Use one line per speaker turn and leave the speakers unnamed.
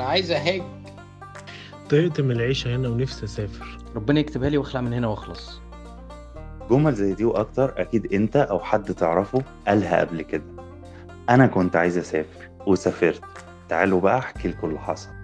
عايز اهاج
طقت من العيشة هنا ونفسي أسافر
ربنا يكتبها لي واخلع من هنا واخلص
جمل زي دي واكتر اكيد انت او حد تعرفه قالها قبل كده انا كنت عايز اسافر وسافرت تعالوا بقى احكي لكم اللي حصل